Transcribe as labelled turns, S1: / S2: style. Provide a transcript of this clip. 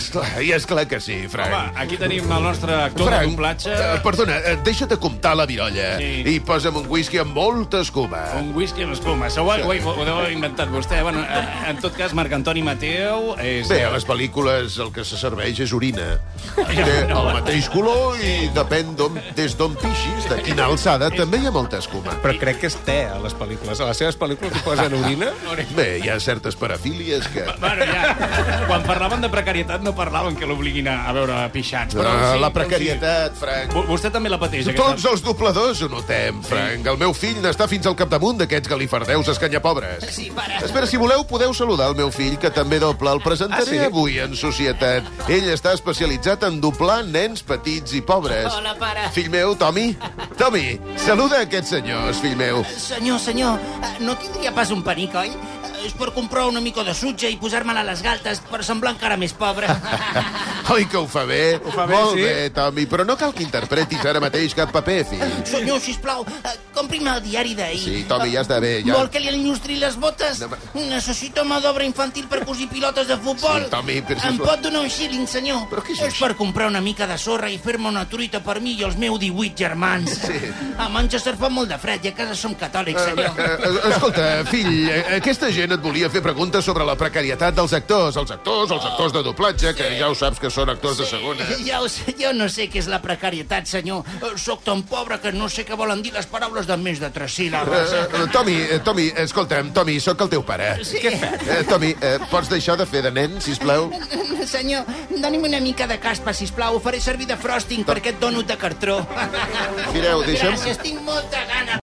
S1: esclar, i esclar que sí, Frank.
S2: Home, aquí tenim el nostre actor de doblatge.
S1: eh, perdona, eh, deixa't comptar la virolla
S2: Sí. Oh,
S1: i posa'm un whisky amb molta escuma.
S2: Un whisky amb espuma. Segur que ho, ho deu haver inventat vostè. Bueno, eh, en tot cas, Marc Antoni Mateu és...
S1: Bé,
S2: eh,
S1: a les pel·lícules el que se serveix és orina. Té el mateix color i depèn d'on, des d'on pixis, de quina alçada, també hi ha molta escuma.
S3: Però crec que és te, a les pel·lícules. A les seves pel·lícules hi posen orina?
S1: Bé, hi ha certes parafílies que...
S2: Bueno, ja. Quan parlaven de precarietat no parlaven que l'obliguin a, a veure pixats. Però,
S1: Ah,
S2: sí,
S1: la
S2: però
S1: precarietat, Frank.
S2: Sí. Vo- Vostè també la pateix,
S1: Tots els dobladors ho notem, Frank. El meu fill n'està fins al capdamunt d'aquests galifardeus escanyapobres. Sí, pare. Espera, si voleu, podeu saludar el meu fill, que també dobla. El presentaré
S3: Ah, sí?
S1: avui en societat. Ell està especialitzat en doblar nens petits i pobres.
S4: Hola, pare.
S1: Fill meu, Tomi. Tomi, saluda aquests senyors, fill meu.
S4: Senyor, senyor, eh, no tindria pas un panic, oi? Eh, És per comprar una mica de sutja i posar-me-la a les galtes per semblar encara més pobre.
S1: Oi que ho fa bé? Ho
S3: fa bé,
S1: Molt
S3: sí?
S1: bé, Tomi, però no cal que interpretis ara mateix cap paper, fill.
S4: senyor, sisplau, eh, compri'm el diari d'ahir. Eh,
S1: Sí, Tomi, ja està bé, ja.
S4: Vol que li enllustri les botes?
S1: No,
S4: No,
S1: ma-
S4: Necessito mà d'obra infantil per cosir pilotes de futbol.
S1: Sí, Tomi, però
S4: Em
S1: sisplau.
S4: pot donar un xíling, senyor?
S1: Però què és
S4: és
S1: això?
S4: per comprar una mica de sorra i fer-me una truita per mi i els meus 18 germans.
S1: Sí.
S4: A Manchester fa molt de fred i a casa som catòlics, senyor.
S1: Eh, eh, Escolta, fill, eh, aquesta gent et volia fer preguntes sobre la precarietat dels actors. Els actors, els actors de doblatge, que ja ho saps que són actors de segona.
S4: Ja ho sé, jo no sé què és la precarietat, senyor. Eh, Sóc tan pobre que no sé què volen dir les paraules de més de tres síl·labes.
S1: Eh, eh, Tomi, eh, Tomi, escolta'm, Tomi, sóc el teu pare.
S4: Sí.
S1: Eh, Tomi, eh, pots deixar de fer de nen, sisplau?
S4: Senyor, doni'm una mica de caspa, sisplau. Ho faré servir de frosting per aquest donut de cartró.
S1: Mireu, deixem...
S4: Gràcies, tinc molta gana.